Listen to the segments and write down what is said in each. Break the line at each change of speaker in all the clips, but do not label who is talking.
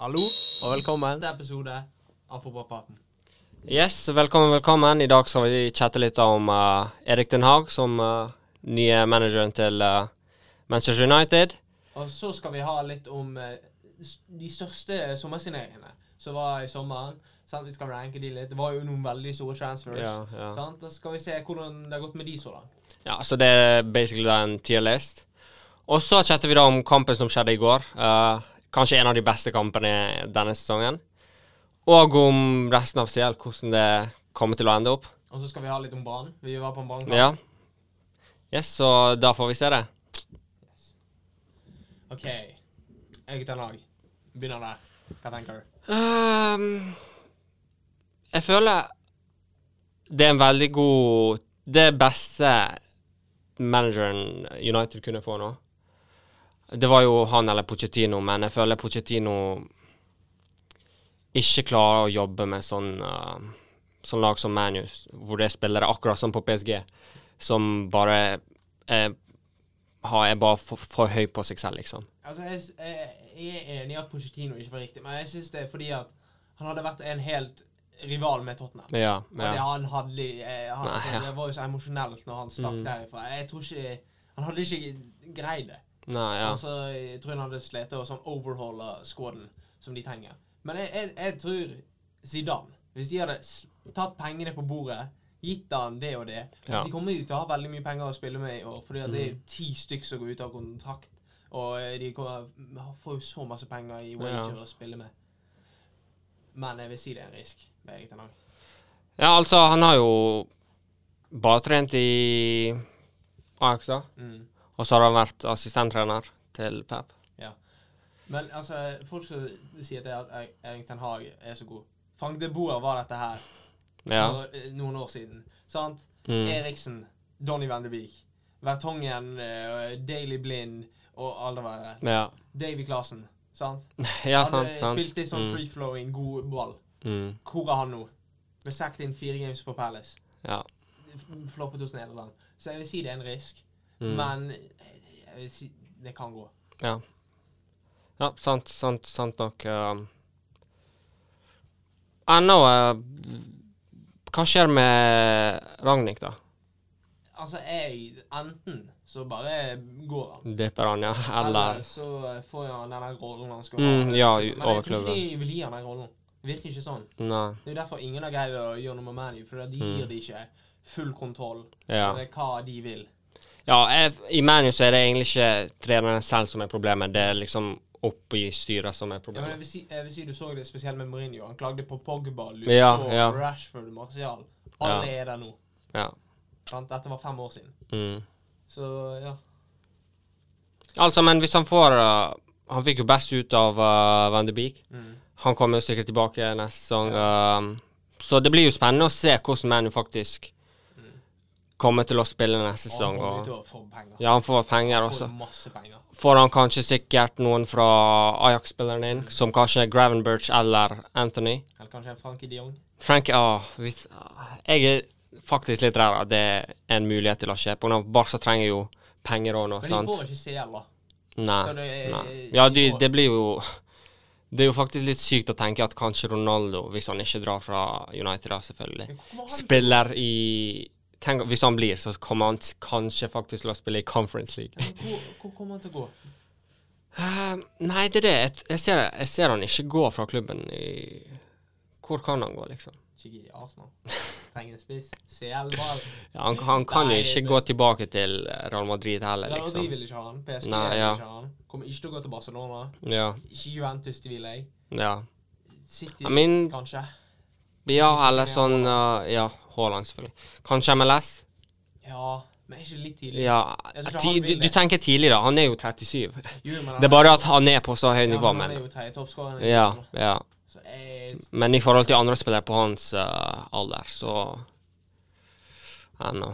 Hallo, og velkommen
til episode av Fotballpraten.
Yes, velkommen, velkommen. I dag skal vi chatte litt om eh, Erik Den Haag som eh, nye manageren til eh, Manchester United.
Og så skal vi ha litt om eh, s- de største sommersigneringene som var i sommeren. Sant? Vi skal ranke de litt. Det var jo noen veldig store transfers.
Ja, ja.
Sant? Og så skal vi se hvordan det har gått med de så langt.
Ja, så det er basically da en tier list. Og så chatter vi da om kampen som skjedde i går. Eh, kanskje en av de beste kampene denne sesongen. Og om resten av CL, hvordan det kommer til å ende opp.
Og så skal vi ha litt om Brann. Vi var på en Brannkamp.
Ja. Yes, så da får vi se det.
OK. Eget lag. Begynner der. Hva tenker du?
Ehm, jeg føler det er en veldig god Det beste manageren United kunne få nå. Det var jo han eller Pochettino, men jeg føler Pochettino ikke klarer å jobbe med sånn, eh, sånn lag som ManU, hvor det er spillere akkurat som på PSG, som bare er, har, er bare for, for høy på seg selv, liksom.
Altså, jeg, s- jeg, jeg er enig i at Pochettino ikke var riktig, men jeg syns det er fordi at han hadde vært en helt rival med Tottenham.
Ja,
Og det
ja.
han hadde li- eh, han,
Nei,
altså,
ja.
Det var jo så emosjonelt når han stakk
Mm.
derifra. Jeg tror ikke Han hadde ikke greid det.
Nei, ja.
Altså, jeg tror han hadde slitt å sånn overhaule squaden som de trenger. Men jeg, jeg, jeg tror Zidane Hvis de hadde s- tatt pengene på bordet, gitt han det og det
Ja. Mm.
De kommer jo til å ha veldig mye penger å spille med i år, fordi at det er ti stykk som går ut av kontrakt. Og eh, de kommer, får jo så masse penger i wager å spille med. Men jeg vil si det er en risk. med eget navn.
Ja, altså, han har jo bare trent i Ajax, da.
Mm.
Og så har han vært assistenttrener til Pep.
Men altså, folk som sier til at Er- Erik Ten Hag er så god Frank de Boer var dette her
Ja.
for eh, noen år siden. Sant?
Mm.
Eriksen, Donny van de Beek, Vertongen, eh, Daily Blind og alle være.
Ja.
Davy Klasen. Sant?
ja,
Han
sant,
eh,
sant.
spilte i sånn
Mm.
free-flowing, god ball.
Mm.
Hvor er han nå? Ble sacked inn fire games på Palace.
Ja.
F- Floppet hos Nederland. Så jeg vil si det er en risk,
Mm.
men eh, jeg vil si det kan gå.
Ja, sant, sant, sant nok. Um. Ennå eh, Hva skjer med Ragnhild, da?
Altså, jeg Enten så bare går han.
Dipper han, ja? Eller
så eh, får han denne rollen han skal
mm, Ja, i-
Men jeg
over
tror ikke
klubben.
de vil gi han den rollen. Det virker ikke sånn.
Nei.
Det er jo derfor ingen har greid å gjøre noe med Manu, for de
Mm.
gir de ikke full kontroll
Ja.
over hva de vil.
Ja, jeg, i ManU så er det egentlig ikke treneren selv som er problemet, det er liksom oppe i styret som er
Ja, men jeg,
problemet.
vil si, jeg vil si du så det spesielt med Mourinho. Han klagde på Pogba, Luke
Ja,
Shaw,
ja.
Rashford, Martial. Alle er der nå.
Ja.
Sant? Dette var fem år siden.
Mm.
Så ja.
Altså, men hvis han får uh, Han fikk jo best ut av uh, Van de Beek.
Mm.
Han kommer jo sikkert tilbake neste sesong. um, så det blir jo spennende å se hvordan ManU faktisk
Mm.
kommer til å spille neste
Og
sesong.
han kommer
Og,
til å få penger.
sånn ja, han får penger
Han
også.
får masse penger.
Får han kanskje sikkert noen fra Ajax-spilleren inn,
Mm.
som kanskje Gravenberch eller Anthony.
Eller kanskje en Frankie de Jong.
Frank, ah, hvis, ah, jeg er faktisk litt redd at det er en mulighet til å skje. På grunn av Barca trenger jo penger òg
Men
nå,
de
sant?
får ikke CL, da.
Nei.
Så det er
Nei. Ja, de,
får-
det blir jo Det er jo faktisk litt sykt å tenke at kanskje Ronaldo, hvis han ikke drar fra United, da, selvfølgelig,
Men hvor kommer han
spiller i Tenk, Hvis han blir, så kommer han s- kanskje faktisk til å spille i Conference League.
Men Hvor, hvor kommer han til å gå?
Eh,
Ehm,
nei, det er det. Jeg, jeg, ser, jeg ser han ikke gå fra klubben i Hvor kan han gå, liksom?
Kikke i Arsenal. Trenger en spiss. CL-ball.
Ja, han, han kan jo
Nei,
ikke
det-
gå tilbake til Real Madrid heller,
Real Madrid
liksom.
vil ikke ha han. PSG
Nei,
vil
ja.
ikke ha han. Kommer ikke til å gå til Barcelona.
Ja.
Ikke Juventus, tviler jeg.
ja.
City,
I mean,
kanskje.
ja, eller sånn eh, Ja, Haaland, selvfølgelig. Kanskje MLS?
Ja, men er ikke det litt tidlig?
Ja,
Jeg tror ikke
ti,
han
du,
vil
du
det.
tenker tidlig, da. Han er jo 37.
Jo, men han
Det er bare at han er på så høyt
ja,
nivå,
Han er
men
jo tredje toppskårer.
ja, ja.
Så jeg
Men i forhold til andre spillere på hans eh, alder, så Ennå.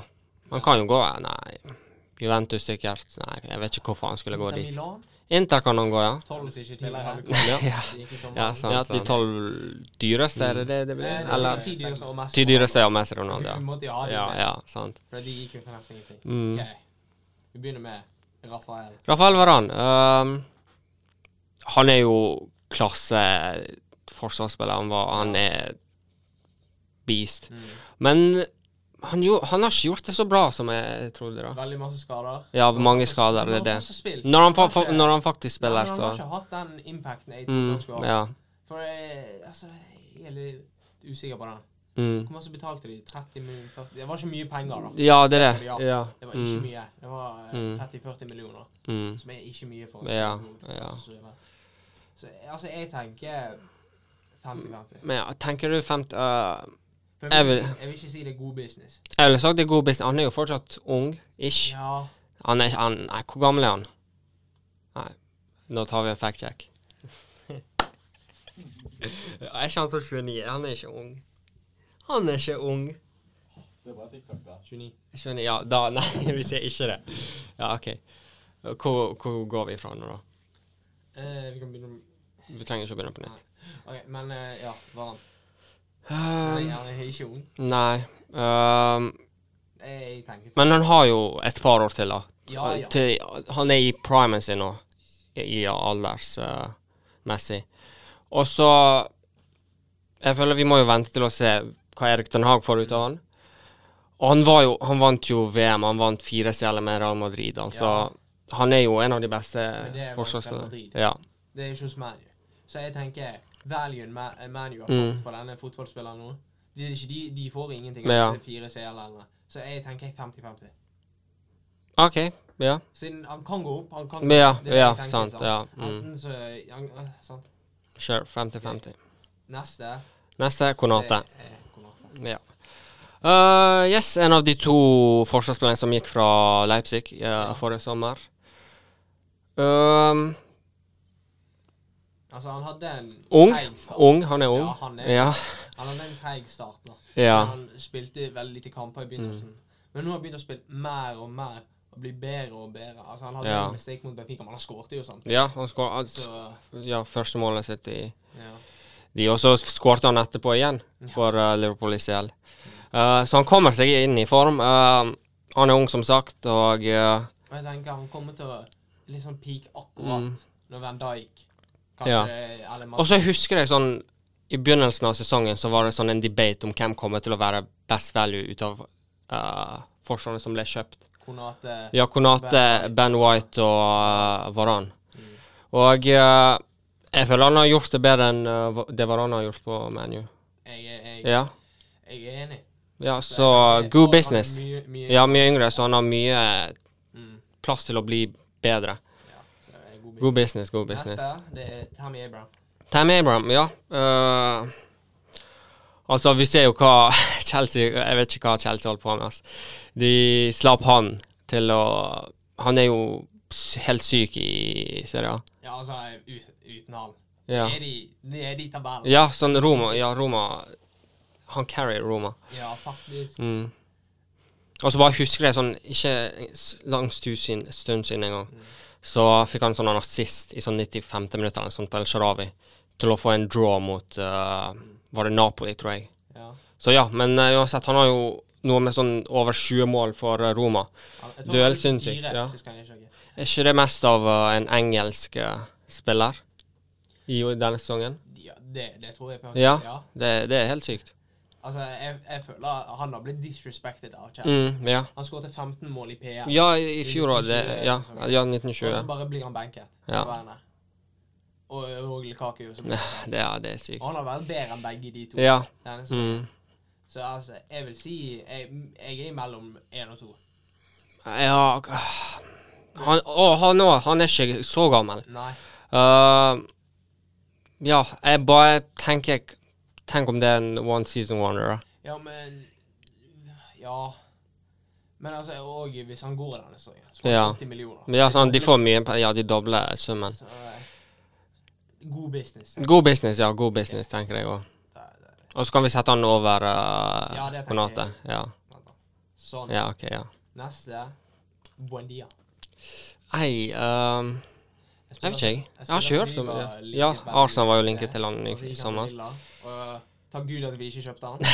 Han kan jo gå eh, Nei. Juventus sikkert. Nei, jeg vet ikke hvorfor han skulle gå
Inter
dit.
Milan?
Inter kan han gå, ja.
Tolv hvis ikke tidligere. hadde gått.
Ja, ja,
Det gikk i sommer.
ja sant. Ja, de
Eh,
tolv dyreste, er det det
Mm.
det
det
blir?
er
Eller
ti dyreste og mest-
ti dyreste er mest Ronaldo,
Vi
ja.
måtte jo ha
Ja,
dem,
ja, sant.
for de gikk jo for nesten ingenting.
Mm.
Ok, Vi begynner med Rafael.
Rafael Varan ehm, Han er jo klasse forsvarsspiller han var. Han er beast.
Mm.
Men han, jo, han har ikke gjort det så bra som jeg trodde, da.
Veldig masse skader.
Ja, mange skader, det er det. Når han, fa fa når han faktisk spiller,
så Han har
så
ikke hatt den impacten jeg trodde han
mm,
skulle ha.
Ja.
For jeg, altså, jeg er litt usikker på den.
Mm.
Hvor mye betalte de? 30 millioner? 40? Det var ikke mye penger, da.
Ja, det er det. Ja.
Det var ikke
Mm.
mye. Det var eh,
Mm.
30-40 millioner,
Mm.
som er ikke mye for en
Ja,
sånn god
ja.
forsvarsspiller. Så altså, jeg tenker 50-50.
Men ja, tenker du 50 øh,
For
Mm.
Jeg,
Jeg
vil
vil-
ikke si- jeg vil ikke si det er god business.
Jeg ville sagt det er god business. Han er jo fortsatt ung, ish.
Ja,
Han er, ikke- han, nei, hvor gammel er han? Nei, nå tar vi en fact check. Ja, Er ikke han så 29? Han er ikke ung. Han er ikke ung.
Det er bare TikTok, da.
29.
29, ja, da, nei, vi sier ikke det. Ja, ok. Hvor, hvor går vi fra nå, da?
Eh, vi kan begynne med
Vi trenger ikke å begynne på nytt.
OK, men eh, ja, hva annet?
Um,
Han er ikke ung.
nei. Um,
Jeg tenker
men han har jo et par år til, da.
Ja, ja.
Til, han er i primen sin nå, i aldersmessig. og så Jeg føler vi må jo vente til å se hva Erik Den Haag får ut av han. Og han, var jo, han vant jo VM, han vant fire seler med Real Madrid. Altså, Han er jo en av de beste
Men det er jo Real
forsvarsspillerne.
Madrid.
Ja.
Det er ikke hos ManU. Så jeg tenker valuen Ma- eh, ManU har
Mm.
fått for denne fotballspilleren nå de, de, de får ingenting
Ja.
av disse fire CL-ene. Så jeg tenker 50-50.
OK. Ja.
Siden han kan gå opp, han kan gå
Men ja,
opp. Det er det
ja
jeg tenker,
sant. Ja. Mm.
Enten så han, øh, sant.
Sure. 50-50.
Neste
Neste Konate.
er- er Konate.
Ja. Eh, yes, en av de to forsvarsspillerne som gikk fra Leipzig eh, forrige sommer. Um,
Altså, han hadde en
ung.
feig start.
Ung. Han er ung.
Ja, han er-
Ja.
Han hadde en feig start. da.
ja. Mm.
Men Han spilte veldig lite kamper i begynnelsen. Men nå har han begynt å spille mer og mer og bli bedre og bedre. Altså, Han hadde
Ja.
en mistake mot Benfica, men han skårte jo samtidig.
ja han skår,
Så,
ja, første målet sitt i
ja.
de, og så skårte han etterpå igjen for eh, Liverpool i CL. Eh, så han kommer seg inn i form. Eh, han er ung, som sagt, og eh,
Og jeg tenker han kommer til å liksom peak akkurat når Van Dijk eh, kanskje
Mm. Ja.
eller
Og så husker jeg sånn I begynnelsen av sesongen så var det sånn en debate om hvem kommer til å være best value ut av uh, forsvarene som ble kjøpt.
Konate
Ja, Konate, Ben White og uh, Varan. Og eh, jeg føler han har gjort det bedre enn eh, hva- det Varan har gjort på ManU.
jeg, er- jeg,
Ja.
jeg er enig.
ja,
Så
så
jeg- og
god
han er
business.
Mye, mye,
Ja, mye yngre, så han har mye
Mm,
plass til å bli bedre.
ja, så det er god business.
God business, god business.
Neste det er Tammy Abraham.
Tam Abraham, ja. Eh, altså, vi ser jo hva Chelsea Jeg vet ikke hva Chelsea holdt på med. ass. De slapp han til å Han er jo s- helt syk i Serie A.
Ja, altså ut, uten han.
Ja.
Er de nede i tabellen?
ja, sånn Roma Ja, Roma Han carrier Roma.
Ja, faktisk.
Mm. Og så bare husker jeg sånn Ikke s- lang stu sin- stund siden engang, så fikk han sånn en assist i sånn 95. minutt eller noe sånt på El Sharawi til å få en draw mot eh, Var det Napoli, tror jeg.
Ja.
Så ja, men eh, uansett, han har jo noe med sånn over 20 mål for eh, Roma.
Han- jeg tror
Duell
han fikk
sinnssykt,
fire
ja.
sist gang jeg sjekket.
Er ikke det mest av eh, en engelsk eh, spiller i jo- denne sesongen?
Ja, det, det tror jeg på.
Ja. Det, det er helt sykt.
Altså, jeg, jeg føler han har blitt disrespected av Chelsea.
Mm, ja.
Han skåret 15 mål i PR.
ja, i i fjor òg. Ja, ja,
Og så
1920.
bare blir han benket.
Ja.
av Werner. Og og Lukaku. Som
Ja, det, ja, det er sykt.
han har vært bedre enn begge de to.
Ja.
denne sesongen.
Mm.
Så altså, jeg vil si Jeg, jeg er mellom én og to.
Ja k- Han, å, han òg. Han er ikke så gammel.
Nei.
Eh, ja, jeg bare tenker Tenk om det er en one season wonder.
Ja, men Ja. Men altså, og hvis han går denne sesongen, så får
Ja.
han 80 millioner.
Ja, sånn, de får mye pe- Ja, de dobler summen.
Så, eh, god business.
God business, ja. God business, tenker jeg òg.
Der, der.
Og så kan vi sette han over uh,
Ja, det tenker
Konate. Ja.
Sånn.
ja, ok, ja.
Neste. Buendia.
Nei, ehm, jeg vet ikke, jeg. Jeg har ikke hørt så mye. Ja, Arsenal var jo linket til han i f- sommer.
Og takk Gud at vi ikke kjøpte han.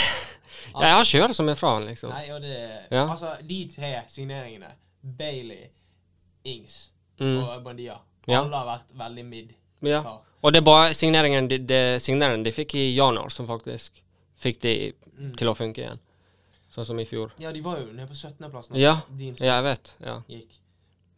Ja, jeg har ikke hørt så mye fra han, liksom.
Nei, og det
Ja.
Altså, de tre signeringene, Bailey, Ings
Mm,
og Bandia,
Ja.
alle har vært veldig mid.
Ja.
par.
Og det er bare signeringen de, de, signeringen de fikk i januar, som faktisk fikk de
Mm.
til å funke igjen. Sånn som i fjor.
Ja, de var jo nede på 17.-plass
Ja.
din
Ja, jeg vet. Ja.
gikk.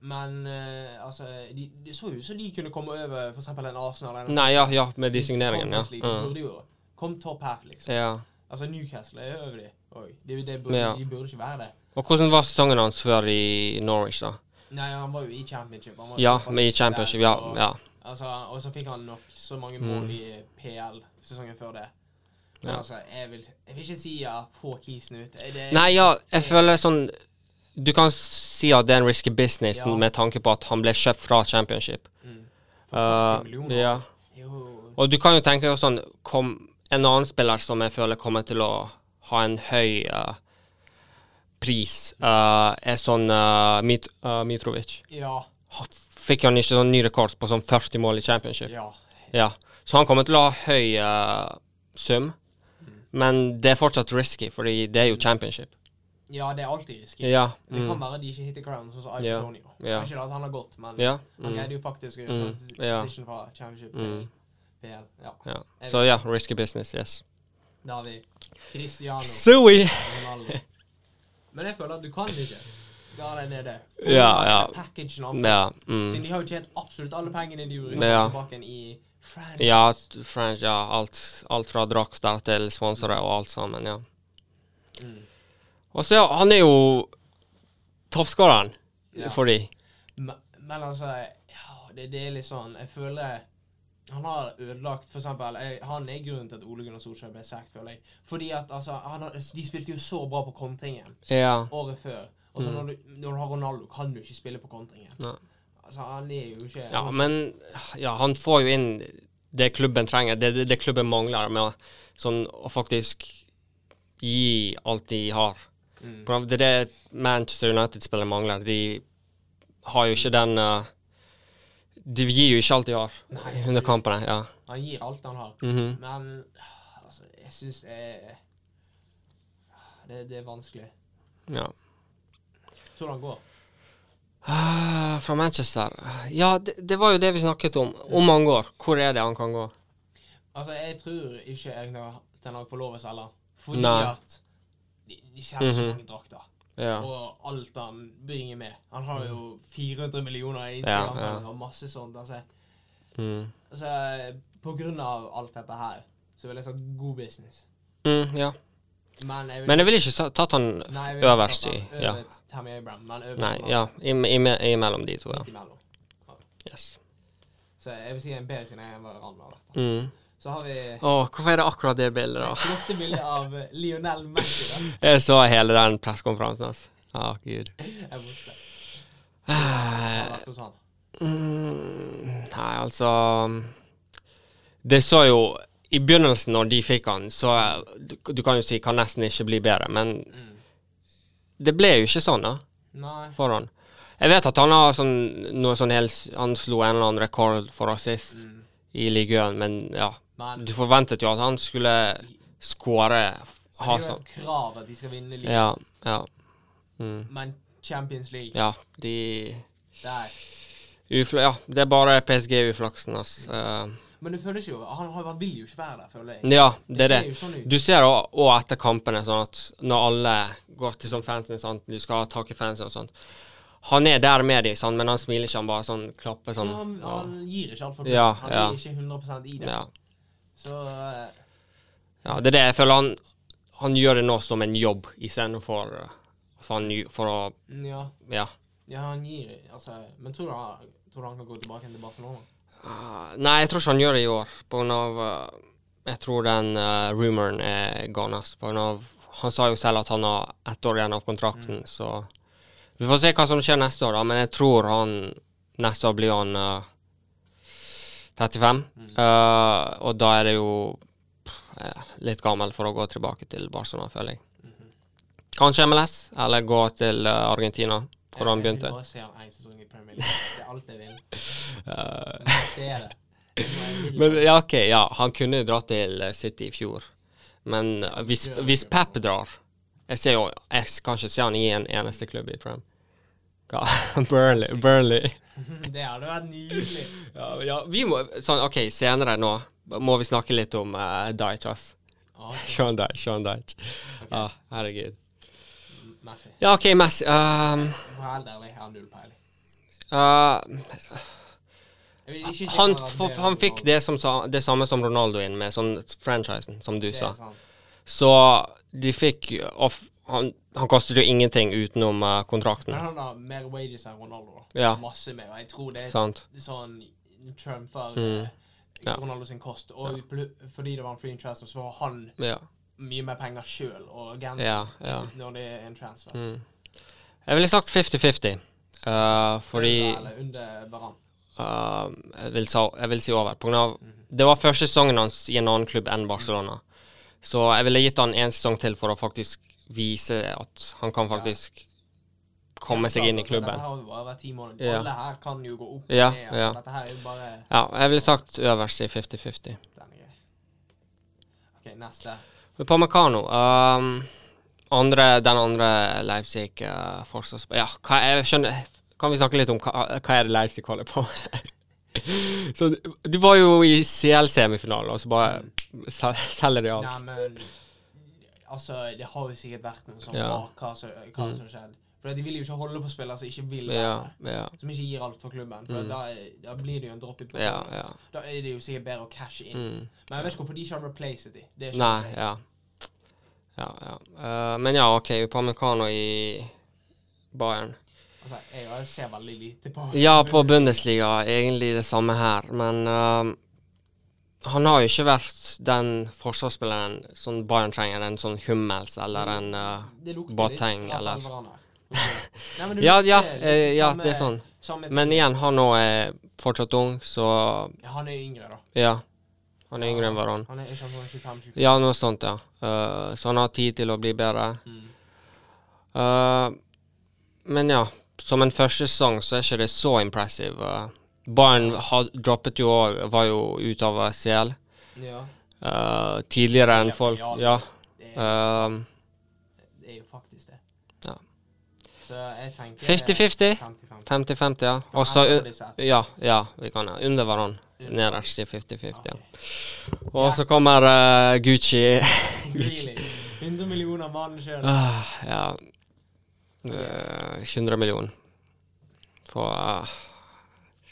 Men eh, altså de, Det så jo ut som de kunne komme over for eksempel en Arsenal. eller en-
Nei, ja, ja, med de signeringene.
Conference League,
Ja. Mm.
De burde jo Kom topp her, liksom.
ja.
Altså Newcastle er over de òg. De, de, burde-
Ja.
de burde ikke være det.
Og hvordan var sesongen hans før i Norwich, da?
Nei, han var jo i championship. Han var jo
Ja,
såpass
med i championship.
sterk,
Ja.
og-
ja. Mm.
Altså, og så fikk han nok så mange mål i PL sesongen før det. Men
Ja.
altså, jeg vil, jeg vil ikke si ja, få kisen ut. Eh, Det,
Nei, ja, jeg føler sånn Du kan si at det er en risky business
Ja.
med tanke på at han ble kjøpt fra championship.
Mm.
Uh,
40 millioner.
ja.
Jo,
Og du kan jo tenke deg sånn kom, En annen spiller som jeg føler kommer til å ha en høy eh, pris, eh, er sånn eh, Mit, eh, Mitrovic.
ja,
Han Fikk han ikke sånn ny rekord på sånn 40 mål i championship?
ja.
Ja. Så han kommer til å ha høy eh, sum,
Mm.
men det er fortsatt risky, fordi det er jo championship.
Ja, det er alltid risky.
Ja.
Det kan
Mm.
være de ikke hitter ground, sånn som Ivan
Ja,
Antonio.
ja.
Kanskje det at han har gått, men
ja.
han
Mm.
greide jo faktisk å
Mm,
gjøre mm.
ja.
transition fra championship til
Mm.
PL. Ja,
ja. Så ja, risky business, yes.
da har vi Cristiano
Sui!
Ronaldo. Men jeg føler at du kan ikke. Ja, det er det.
Ja, ja.
Packagen han
Ja.
Siden
Mm.
de har jo tjent absolutt alle pengene de gjorde
Ja.
tilbake i franchise.
Ja, t- French, ja, alt, alt fra Drax der til sponsorer og alt sammen, ja.
Mm.
Og så, ja, han er jo toppskåreren
Ja.
for de.
Men, men altså ja, det, det er litt sånn Jeg føler han har ødelagt for eksempel, jeg, Han er grunnen til at Ole Gunnar Solskjær ble sagt, føler jeg. Fordi at altså han, har- De spilte jo så bra på kontringen
Ja.
året før. Og
Mm.
så når, du, når du har Ronaldo, kan du ikke spille på kontringen.
Nei.
Altså, han er jo ikke
ja, men ja, han får jo inn det klubben trenger, det, det, det klubben mangler, med å- sånn å faktisk gi alt de har.
Mm.
For Det er det Manchester United-spillere mangler. De har jo ikke den eh, De gir jo ikke alt de har
Nei.
under kampene. ja.
Han gir alt han har.
Mhm.
Men altså, jeg syns det er det, det er vanskelig.
ja.
Tror du han går?
Ah, fra Manchester Ja, det, det var jo det vi snakket om. Om han går. Hvor er det han kan gå?
Altså, jeg tror ikke Egnar Ten Hag får lov å selge. Fordi
Nei.
at de, de selger så
Mhm.
mange drakter.
Ja. Mhm.
Og alt han bringer med. Han har jo 400 millioner i
Ja,
Instagram
ja.
og masse sånt. Altså,
Mm.
altså, på grunn av alt dette her, så vil jeg si god business.
Mm, ja.
Men jeg vil,
Men jeg ville ikke sa- tatt han f-
Nei, jeg vil ikke
øverst
si
i
at han
ja.
øvet Tammy Abraham, men øvet
Nei,
Ronaldo
ja. Im- ime- Imellom de to, ja.
midt imellom.
Yes.
Så jeg vil si en bedre sin enn hva Rand har vært.
Mm.
Så har vi
Å, hvorfor er det akkurat det bildet, da?
flotte bilder av eh, Lionel Messi. da.
Jeg så hele den pressekonferansen hans. Å, gud.
Jeg er borte.
Eh,
Har vært hos han.
Mm, nei, altså Det så jo I begynnelsen, når de fikk han, så eh, du, du kan jo si kan nesten ikke bli bedre, men
Mm.
det ble jo ikke sånn, da,
Nei.
for han. Jeg vet at han har sånn noe sånn helt Han slo en eller annen rekord for assist
Mm.
i ligaen, men ja.
Men
Du forventet jo at han skulle skåre
det
ha
er jo
sånn.
et krav at de skal vinne ligaen.
Ja. Ja. Mm.
Men Champions League,
ja de
der
Ufla, ja, det er bare PSG-uflaksen, altså.
Men det føles jo Han, har- han vil jo ikke være der, føler jeg.
ja, det er det.
ser jo sånn ut.
Du ser òg etter kampene sånn at når alle går til sånn fansen, sånn, du skal takke fansen og sånt Han er der med dem, sånn, men han smiler ikke, han bare sånn klapper sånn.
han, han gir ikke alt for det.
Ja,
han
ja.
gir ikke 100 i det.
Ja.
Så eh,
ja, det er det jeg føler han Han gjør det nå som en jobb istedenfor uh, for, han gj- for å
ja.
Ja.
ja, han gir altså, Men tror du han, tror du han kan gå tilbake til Barcelona?
Uh, nei, jeg tror ikke han gjør det i år, på grunn av uh, Jeg tror den uh, rumoren er gone. ass, På grunn av Han sa jo selv at han har ett år igjen av kontrakten, så Vi får se hva som skjer neste år, da, men jeg tror han Neste år blir han uh, 35, uh, og da er det jo pff, eh, litt gammel for å gå tilbake til Barcelona, føler jeg.
Mhm.
Kanskje MLS, eller gå til uh, Argentina, hvor han
Jeg vil
begynte.
bare se han en sesong i Premier League. Det er alt jeg vil. Men det er det. Det er bare jeg vil.
Men ja, ok, ja, han kunne jo dra til eh, City i fjor. Men eh, hvis,
Ja,
hvis
ja.
Pep drar Jeg ser jo Jeg s- kan ikke se han i en eneste klubb i Prem. Hva? Burnley. Burnley.
Mm, Det hadde vært nydelig.
Ja, ja, vi må, sånn, OK, senere nå må vi snakke litt om uh, Dyche, ass.
Ok,
Sean Dyche, Sean Dyche. Ja, herregud.
m- Messi.
Ja, OK, Messi. Um,
For helt ærlig, jeg har null peiling.
uh,
Jeg vil ikke si
han,
var
f-
bedre
han
enn
fikk
Ronaldo.
det, som sa, det samme som Ronaldo inn med, sånn franchisen, som du
Det
sa.
er sant.
Så de fikk jo off, han, han kostet jo ingenting utenom eh, kontrakten.
Men han har mer wages enn Ronaldo. da.
Ja.
Masse mer. og Jeg tror det er
Sant?
sånn term for
Mm.
eh,
Ja.
Ronaldo sin kost. Og pl- fordi det var en free transfer, så har han
Ja.
mye mer penger sjøl og gambler
ja, ja.
når det er en transfer.
Mm. Jeg ville sagt 50-50. eh, fordi
Eller under Baran.
eh, jeg, vil sa, jeg vil si over. På grunn av, det var første sesongen hans i en annen klubb enn Barcelona. Så jeg ville gitt han en sesong til for å faktisk vise at han kan
Ja.
faktisk komme seg inn i klubben.
altså, Dette har jo bare vært ti måneder.
Ja.
Alle her kan jo gå opp
Ja,
og ned. altså.
ja.
Dette her er jo bare
Ja, jeg ville sagt øverst i 50-50.
denne greia. OK, neste.
Men Pamecano um, andre, Den andre Leipzig uh, forsvars... Ja, hva, jeg skjønner Kan vi snakke litt om hva, hva er det Leipzig holder på med? så du, du var jo i CL-semifinalen, og så bare sel- selger de
Nei,
alt.
men Altså, det har jo sikkert vært noe sånn
Ja. Mm.
bak hva som hva som skjedde. For de vil jo ikke holde på spillere som ikke vil være
Ja,
der.
ja.
Som ikke gir alt for klubben. For
Mm.
da, er- da blir det jo en drop-in. på
Ja,
klubben.
ja.
Da er det jo sikkert bedre å cashe inn.
Mm.
Men jeg vet ikke hvorfor de ikke har replaced de. Det er ikke
Nei,
det.
ja. Ja, ja. Uh, men ja, OK, Pamecano i Bayern.
Altså, jeg, jeg ser veldig lite på
Ja, på Bundesliga. Egentlig det samme her. Men ehm, han har jo ikke vært den forsvarsspilleren som Bayern trenger. En sånn Hummels eller en eh,
Det lukter
Boateng,
litt av
eller-
Alvarane. Nei, men du
Ja,
lukter
ja,
liksom
eh, ja,
samme-
det er sånn.
samme-
Men igjen, han òg er fortsatt ung, så
Ja, Han er yngre, da.
ja. Han er yngre enn Varan.
Han er ikke sånn 25-24.
Ja, noe sånt, ja. Eh, så han har tid til å bli bedre.
Mm.
Eh, men ja, som en første sesong så er ikke det så impressive. eh. Bayern had, droppet jo òg, var jo ute av eh, CL.
Ja.
Eh, tidligere enn
Ja,
folk.
ja.
Ja.
Det er,
ehm,
det er jo faktisk det.
ja.
Så jeg tenker
50-50.
50-50.
50-50, ja.
Kan
Og så
endre på
u-
disse etterpå.
Ja, ja, vi kan ja. Under hverandre.
Under.
Nederst i 50-50. ja.
Ok.
Og så kommer eh, Gucci.
Really? 100 millioner mann sjøl.
Ah, ja. Eh, 100 millioner. For eh,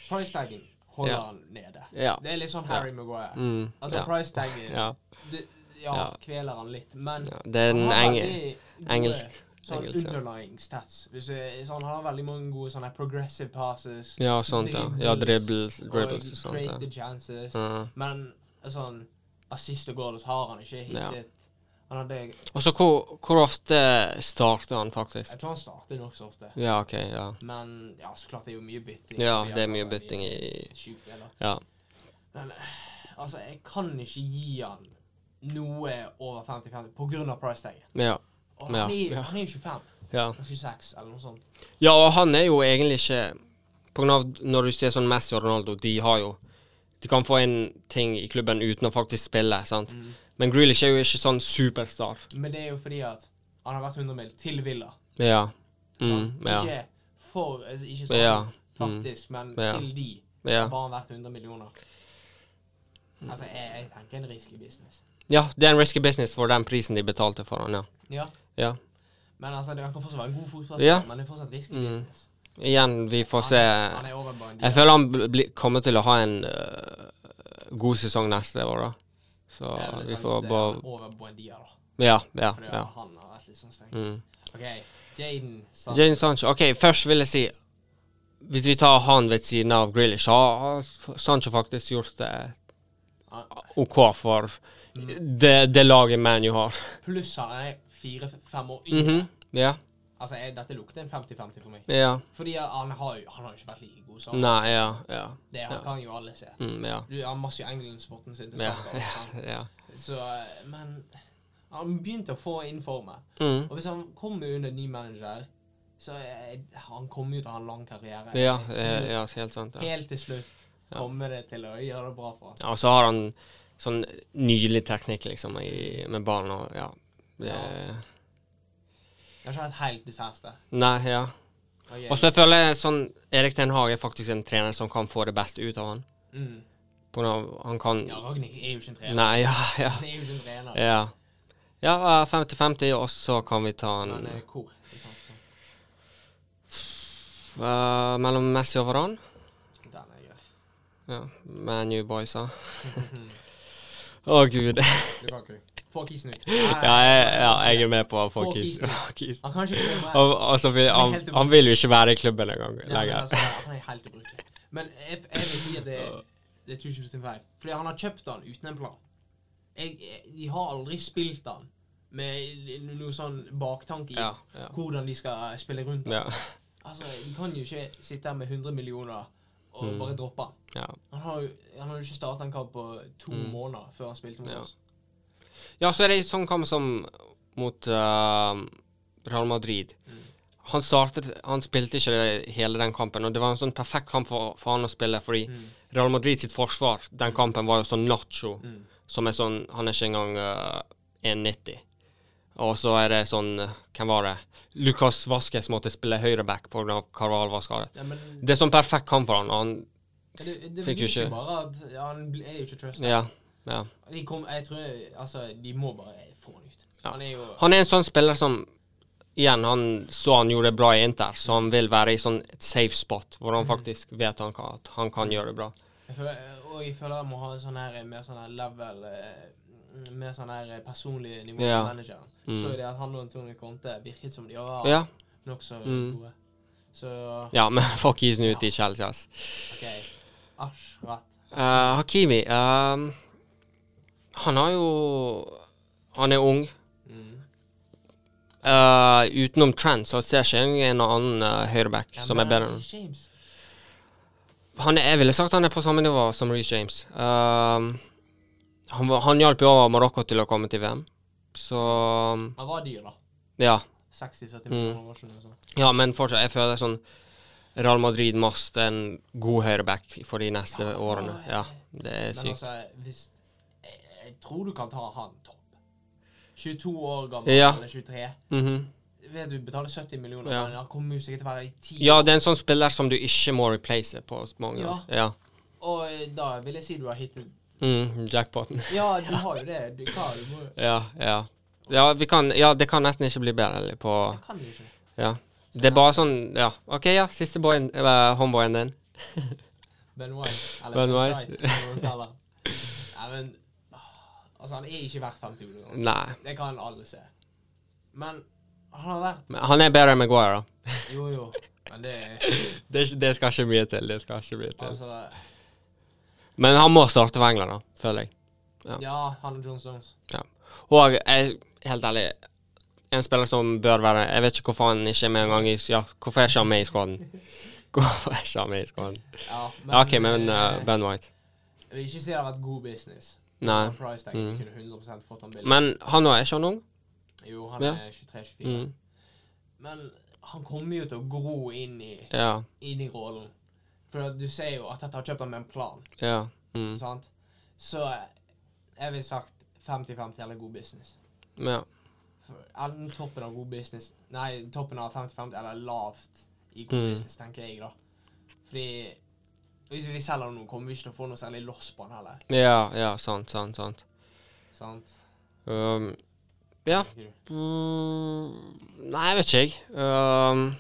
Price taggen holder
Ja.
han nede.
Ja.
Det er litt sånn Harry Maguire.
Mm,
Altså,
ja.
price taggen
Ja,
det- ja,
Ja.
kveler han litt, men
ja. Det er
han
en
har
eng
veldig gode
engelsk
Sånn
engelsk, ja.
underlying stats. Hvis du- sånn, han har veldig mange gode sånne progressive passes.
Ja, sånt, ja. Ja, dribbles,
og
dribbles og sånt. Ja.
created chances.
Ja.
Men sånn assist og goals har han ikke
Ja.
hittet. Han hadde,
Og så hvor, hvor ofte starter han faktisk?
jeg tror han starter nokså ofte.
Ja, OK, ja.
Men ja, så klart det er jo mye bytting.
Ja,
fordi
det er
han,
mye
altså,
bytting i
Sjukt, det, da.
Ja.
Men eh, altså, jeg kan ikke gi han noe over 50-50 på grunn av price taggen.
Ja.
Og han,
Ja.
er,
Ja.
han er jo 25,
ja.
26 eller noe sånt.
Ja, og han er jo egentlig ikke På grunn av når du ser sånn Messi og Ronaldo, de har jo De kan få inn ting i klubben uten å faktisk spille, sant.
Mm.
Men Grealish er jo ikke sånn superstar.
Men det er jo fordi at han har vært 100 mil til Villa.
Ja. Mm,
Sant?
ja.
Ikke for altså, Ikke sånn
Ja. Mm.
faktisk, men
Ja.
til de.
Ja.
Har
Mm.
bare han vært 100 millioner. Altså, jeg, jeg tenker en risky business.
ja, det er en risky business for den prisen de betalte for han, ja.
Ja.
ja.
Men altså, det kan fortsatt være en god fotballspiller,
Ja.
men det er fortsatt risky
Mm.
business.
Igjen, vi får se.
Han, er- han er over bare en
Jeg føler han bl- blir- kommer til å ha en øh, god sesong neste år, da. Så
Ja, men
vi
sant,
får
eh,
bare
Over Buendia, da.
Ja, ja.
For
ja.
han har vært litt sånn streng.
Mm.
OK, Jaden sa
Jadon Sancho. OK, først vil jeg si Hvis vi tar han ved siden av Grealish, har har Sancho faktisk gjort det
Ja.
OK for det, det laget ManU har.
Pluss han er fire-fem år yngre.
Mhm. Ja.
Altså, jeg, Dette lukter en 50-50 for meg.
Ja.
Fordi at han har jo han har jo ikke vært like god som
Nei, ja. Ja.
Det han
ja.
kan jo alle se.
Mm, ja.
Du, han masse jo England-sporten sin til
Ja,
starten.
ja,
sant?
ja.
Så, eh, men han begynte å få inn formen.
Mm.
Og hvis han kommer under ny manager, så er, han kommer jo til å ha en lang karriere.
ja,
Jeg tror
eh, ja, helt sant. Ja.
Helt til slutt kommer det til å gjøre det bra for ham.
Ja, og så har han sånn nydelig teknikk, liksom, i, med ballen og ja. Det,
Jeg har ikke hatt helt disaster.
nei, ja.
Og
Og så jeg føler jeg sånn Erik Ten Hag er faktisk en trener som kan få det beste ut av han.
mm.
På grunn av han kan
Ja, Ragnhild er jo ikke en trener.
Nei, ja, ja.
Han er jo ikke en trener.
Ja, ja eh, 50-50, og så kan vi ta en
Han er hvor?
eh, mellom Messi og Varan.
Den er grei.
Ja, ManU Boysa. Å, gud.
Det kan ikke jeg.
Få kisen ut.
Ja jeg, ja, jeg er med på
Få
Falkis.
Kisen. Han kan ikke komme
Og, altså, vi,
er
han,
helt umulig.
han vil jo ikke være i klubben engang
Ja, men
lenger.
altså, han er helt ubrukelig. Men jeg, jeg vil si at det, det er Tuchel sin feil. Fordi han har kjøpt han uten en plan. Jeg, jeg, de har aldri spilt han med noe sånn baktanke i
Ja, ja.
hvordan de skal spille rundt.
Ja,
Altså, De kan jo ikke sitte her med 100 millioner og
Mm.
bare droppe han.
ja.
Han har jo, han har jo ikke starta en kamp på to
Mm.
måneder før han spilte mot
Ja.
oss.
ja, så er det en sånn kamp som mot eh, Real Madrid.
Mm.
Han startet, han spilte ikke hele den kampen, og det var en sånn perfekt kamp for, for han å spille, fordi
Mm.
Real Madrid sitt forsvar, den kampen var jo sånn nacho,
Mm.
som er sånn, han er ikke engang eh, 1,90. Og så er det sånn, eh, hvem var det? Lucas Vasquez måtte spille høyreback på grunn av Carval var skadet.
Ja, men
Det er sånn perfekt kamp for han, og han
det, det
fikk
blir
jo
ikke
ikke...
bare at ja, Han blir- er jo ikke trusted.
Ja, ja.
De kom, jeg tror Altså, de må bare få han ut.
Ja.
Han er jo
Han er en sånn spiller som Igjen, han så han gjorde det bra i Inter, så han vil være i sånn et safe spot, hvor
Mm.
han faktisk vet han kan, at han kan gjøre det bra.
Jeg føler, og jeg føler jeg må ha en sånn her mer sånn her level eh, Mer sånn her personlig nivå
Ja.
i manageren.
Mm.
Så er det at han og Antonio Conte virket som de var
Ja,
nokså
Mm.
gode. Så
ja men fuck isen ut i Chelsea, ass.
OK. Ashrat.
Eh, Hakimi ehm, Han har jo Han er ung.
Mm.
Eh, utenom Trent så ser jeg ikke en og annen eh, høyreback
Ja,
som
men
er bedre enn
James.
han. Er, jeg ville sagt han er på samme nivå som Reece James. Ehm, han, var- han hjalp jo Marokko til å komme til VM, så
Han var dyr, da.
Ja.
60-70
Mm.
millioner år siden. og sånn.
ja men fortsatt, jeg føler sånn Real Madrid must en god høyreback for de neste
Ja,
årene. Ja, det er
Men
sykt.
altså, hvis jeg, jeg tror du kan ta han topp. 22 år gammel
Ja.
eller 23.
Mhm.
Vet du, betaler 70 millioner,
Ja.
men han kommer jo sikkert til å være i 10
Ja, det er en sånn spiller som du ikke må replace på mange år. Ja.
Og eh, da vil jeg si du har hittet
Mm, jackpoten.
Ja, du har jo det. Du, hva, du må,
Ja, ja. Ja, vi kan, ja, det kan nesten ikke bli bedre eller, på
jeg kan jo ikke.
Ja. Det er bare sånn Ja, OK, ja. Siste boyen, eh, homeboyen din.
Ben White.
Ben White.
White, som man kaller han. Nei, men ah, Altså, han er ikke verdt 50 millioner.
Nei.
Det kan alle se. Men han har vært
Men han er bedre enn Maguire, da.
Jo, jo. Men det er
Det, er ikke- det skal ikke mye til. Det skal ikke mye til.
Altså
Men han må starte for England, da, føler jeg. Ja.
Ja, han og John Stones.
Og jeg, helt ærlig, en spiller som bør være Jeg vet ikke hvorfor han ikke er med engang i Ja, hvorfor er ikke han med i skåden? Hvorfor er ikke han med i skåden?
Ja,
Ja, OK, men
eh,
eh, Ben White.
Jeg vil ikke si det har vært god business.
Nei.
Price tag
Mm.
kunne 100 fått han billig.
Men han òg, er ikke han ung?
Jo, han
Ja.
er 23-24.
Mm,
Men han kommer jo til å gro inn i,
ja.
inn i rollen. For at du ser jo at dette har kjøpt han med en plan.
Ja. Mm,
sant? Så eh, jeg vil sagt 50-50 eller god business.
ja.
For Enten toppen av god business Nei, toppen av 50-50 eller lavt i god
Mm.
business, tenker jeg, da. Fordi hvis vi selger noe, kommer vi ikke til å få noe særlig loss på den heller.
Ja, ja, sant, sant, sant.
Sant?
Um, Ja.
Tenker du?
mm, nei, jeg vet ikke, jeg. Um,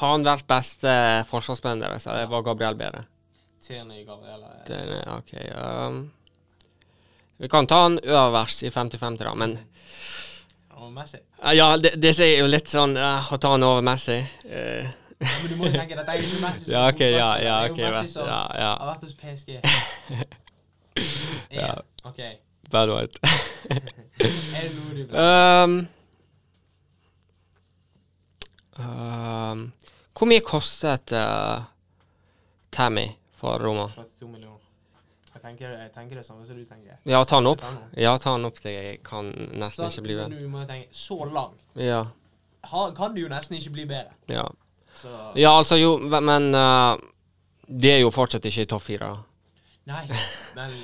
har han vært beste forsvarsspilleren deres, eller var Gabriel bedre?
Tierney, Gabrielle
Det, nei, ok. Um, vi kan ta han øverst i 50-50, da, men
og Messi.
Eh, Ja, det, det sier jo litt sånn eh, Å ta han over Messi.
Ja,
eh,
men du må jo tenke dette er jo ikke Messi som
ja, OK, ja,
fotballspiller,
ja,
det er jo
ok,
Messi
vet-
som
ja, ja.
har vært hos PSG. ja.
Ja.
OK.
Bad white.
Er det noe du vil
Um, um, hvor mye kostet eh, Tammy for Roma?
42 millioner. Jeg tenker, jeg tenker det samme som du tenker.
Ja, ta han opp.
Ta nå.
Ja, ta han opp til jeg kan nesten
Så
ikke bli venn.
Du må tenke så lang.
Ja,
Ha, kan du jo nesten ikke bli bedre.
ja.
Så
ja, altså jo, ve- men eh, det er jo fortsatt ikke i topp fire. da.
Nei, men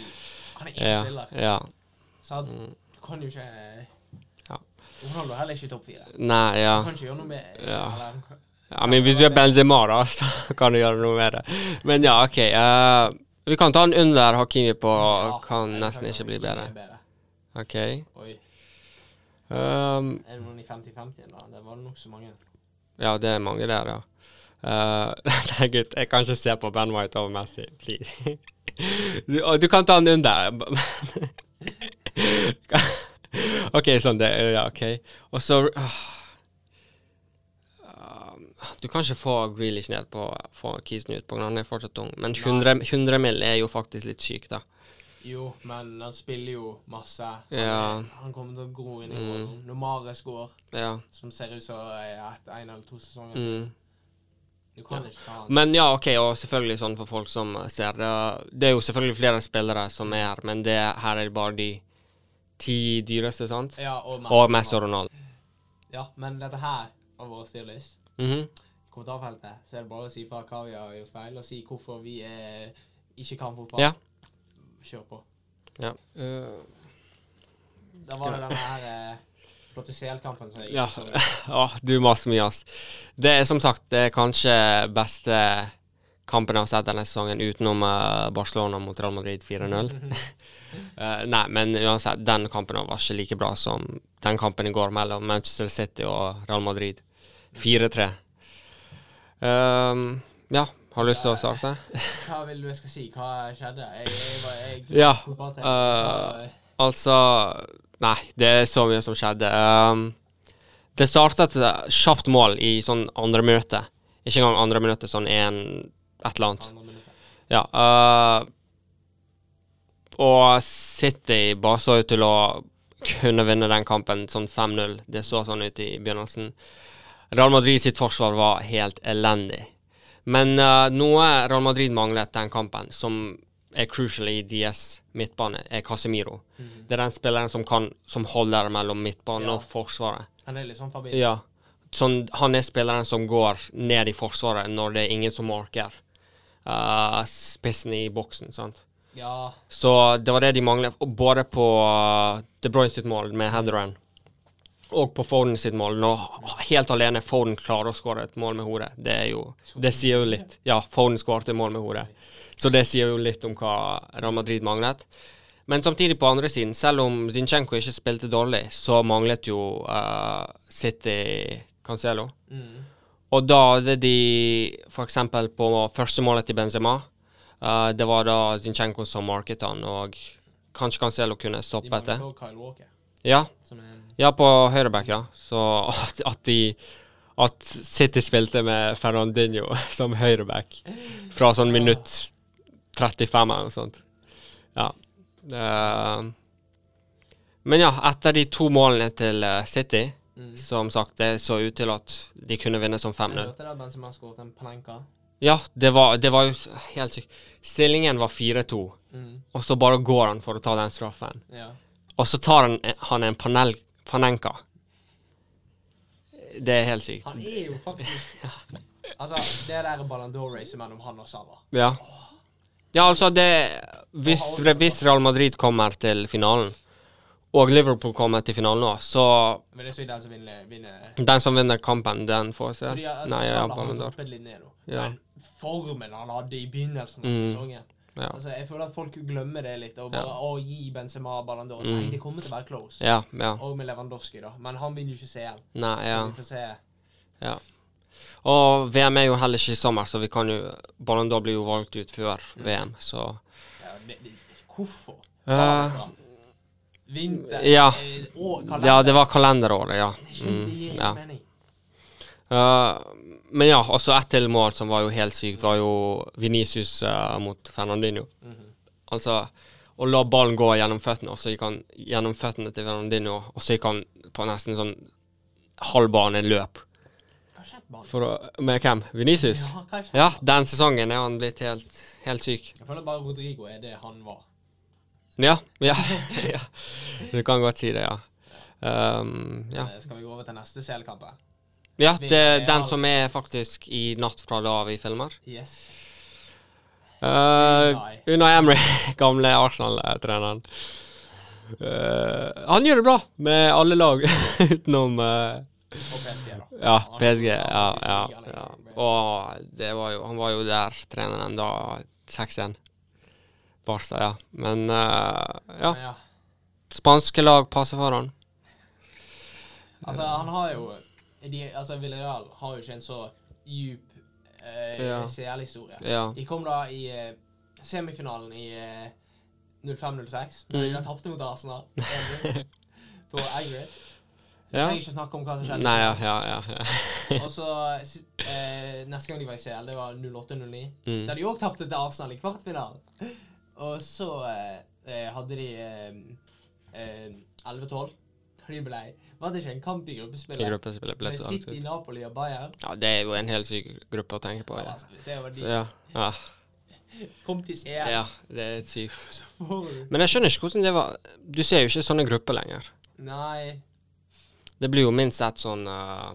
han er én
Ja,
spiller.
ja.
Sant?
Mm.
Du kan jo ikke
Ja.
Ronaldo er heller ikke topp fire.
Nei, ja.
Du kan ikke gjøre noe med
Ja.
eller,
I mean, hvis du er Benzema, da, så kan du gjøre noe med det. Men ja, OK. eh, vi kan ta han under Hakimi på
Ja,
Kan
jeg
nesten
kan
ikke bli bedre. OK.
Oi.
Um,
Er det noen i 50-50 da? Det var det nokså mange.
ja, det er mange der, ja. Eh, nei, gutt, jeg kan ikke se på Ben White over Messi. Please. Du, og du kan ta han under. OK, sånn. Det, ja, OK. Og så ah. Um, Du kan ikke få Grealish ned på få Kisen ut, på grunn av han er fortsatt ung. Men 100, 100 mil er jo faktisk litt sykt, da.
Jo, men han spiller jo masse. Han,
Ja. Mm.
han kommer til å gro inn i rollen. Når Mares går,
Ja.
som ser ut som eh, et- en eller to sesonger
Mm.
Du kan ikke ta han.
Men ja, OK, og selvfølgelig sånn for folk som ser det Det er jo selvfølgelig flere spillere som er her, men det her er bare de ti dyreste, sant?
Ja, og Messi.
Og Messi og Ronaldo.
Ja, men dette her har vært stillest.
Mhm.
I kommentarfeltet så er det bare å si fra hva vi har gjort feil, og si hvorfor vi eh, ikke kan fotball.
Ja.
Kjør på.
Ja.
Da var det denne her eh, flotte CL-kampen som jeg
Ja.
så.
Åh, du maser mye, ass. Det er som sagt det er kanskje beste kampen jeg har sett denne sesongen, utenom eh, Barcelona mot Real Madrid 4-0. Eh, nei, men uansett, den kampen var ikke like bra som den kampen i går mellom Manchester City og Real Madrid. 4-3. Ehm, ja, har du lyst til å starte?
Hva vil du jeg skal si? Hva skjedde? Jeg, jeg, var- jeg,
Ja,
jeg bare tenkte,
eh.
hva-
Altså Nei, det er så mye som skjedde. Ehm, det startet et kjapt mål i sånn andre møte. Ikke engang andre møte, sånn en et eller annet.
andre minuttet.
Ja. øh, og City bare så ut til å kunne vinne den kampen sånn 5-0. Det så sånn ut i begynnelsen. Real Madrid sitt forsvar var helt elendig. Men øh, noe Real Madrid manglet den kampen, som er crucial i DS midtbane, er Casemiro. Det er den spilleren som, kan, som holder mellom midtbanen
Ja.
og forsvaret.
Han er litt sånn Fabinho.
Ja. Sånn, han er spilleren som går ned i forsvaret når det er ingen som marker eh, spissen i boksen. sant?
Ja.
Så det var det de manglet, og både på eh, De Bruyne sitt mål med headeren og på Foden sitt mål. Nå helt alene Foden klarer å skåre et mål med hodet. Det er jo, det sier jo litt. Ja, Foden skåret et mål med hodet. Så det sier jo litt om hva Real Madrid manglet. Men samtidig, på andre siden, selv om Zinchenko ikke spilte dårlig, så manglet jo eh, City Cancelo.
Mm.
Og da hadde de f.eks. på første målet til Benzema eh, Det var da Zinchenko som market han, og kanskje Cancelo kunne
De
stoppet det.
mangler også Kyle Walker,
Ja,
som er en
ja, på høyreback, ja. Så at, at de At City spilte med Fernandinho som høyreback fra sånn minutt 35 eller noe sånt. Ja. Eh, men ja, etter de to målene til eh, City,
mm.
som sagt, det så ut til at de kunne vinne som 5-0.
Jeg hørte det, Benzema skåret en Panenka.
Ja, det var, det var jo s- helt sykt. Stillingen var 4-2,
Mm.
og så bare går han for å ta den straffen.
Ja.
Og så tar han, eh, han en panel, panenka. Det er helt sykt.
Han er jo faktisk Altså, det der Ballon d'Or-racet mellom han og Salah
Ja. Ja, altså, det Hvis, hvis Real Madrid kommer til finalen, og Liverpool kommer til finalen nå, så
Men det er så i den som vinner, vinner
Den som vinner kampen, den får se.
Fordi, altså,
Nei, ja,
Salah har
Ballon d'Or.
droppet litt ned nå.
Ja.
Men formen han hadde i begynnelsen av
Mm.
sesongen
Ja.
Altså, Jeg føler at folk glemmer det litt. Og bare
Ja.
å gi Benzema Ballon d'Or.
Mm.
Nei, det kommer til å være close.
Ja, ja.
Og med Lewandowski, da. Men han vinner jo ikke CL.
Nei, ja.
Så vi får se.
Og VM er jo heller ikke i sommer, så vi kan jo Ballon d'Or blir jo valgt ut før
Mm.
VM, så
Ja, det, det, hvorfor?
Eh,
Vinter
ja.
eh, og kalender.
Ja, det var kalenderåret, ja.
Skjønner, det
Mm,
gir ikke
ja.
mening.
Eh, men ja, også ett til mål som var jo helt sykt, var jo Venicius mot Fernandinho.
Mhm.
Altså å la ballen gå gjennom føttene, og så gikk han gjennom føttene til Fernandinho, og så gikk han på nesten sånn halvbaneløp.
Hva skjedde med han?
For å, med hvem? Venicius?
Ja, hva skjedde?
Ja, den sesongen er han blitt helt, helt syk.
Jeg føler bare Rodrigo er det han var.
Ja, ja, ja. Du kan godt si det, ja. Ehm, ja.
Eh, Skal vi gå over til neste CL-kamp? her?
ja, det er den som er faktisk i natt fra da vi filmer. Eh,
Yes.
Uh, Unai Emry, gamle Arsenal-treneren. Eh, han gjør det bra med alle lag utenom eh,
Og PSG, da.
Ja,
Han-
PSG. Ja,
han-
ja,
han-
ja.
han-
Og det var jo, han var jo der, treneren, da 6-1. Barca, ja. Men eh, ja.
Men ja.
Spanske lag passer for han.
Altså, han har jo de, Altså, Villarreal har jo ikke en så djup eh,
Ja.
CL-historie.
Ja.
De kom da i eh, semifinalen i eh, 05-06, da de
Mm.
da tapte mot Arsenal. 1-0, på Agrid.
ja.
Trenger ikke snakke om hva som skjedde.
Nei, ja, ja, ja. ja.
Og så si- eh, neste gang de var i CL, det var 08-09.
Mm.
Der de òg tapte til Arsenal i kvartfinalen. Og så eh, eh, hadde de eh, eh, 11-12. Da de ble Var det ikke en kamp i
I
gruppespillet?
gruppespillet ble
Med
det langt
City,
ut.
Napoli og Bayern.
Ja, det er jo en helt syk gruppe å tenke på. Ja.
Altså, hvis det var de
Så ja. Ja,
kom til CL,
ja det er sykt.
så får du
Men jeg skjønner ikke hvordan det var Du ser jo ikke sånne grupper lenger.
Nei.
Det blir jo minst ett sånn eh,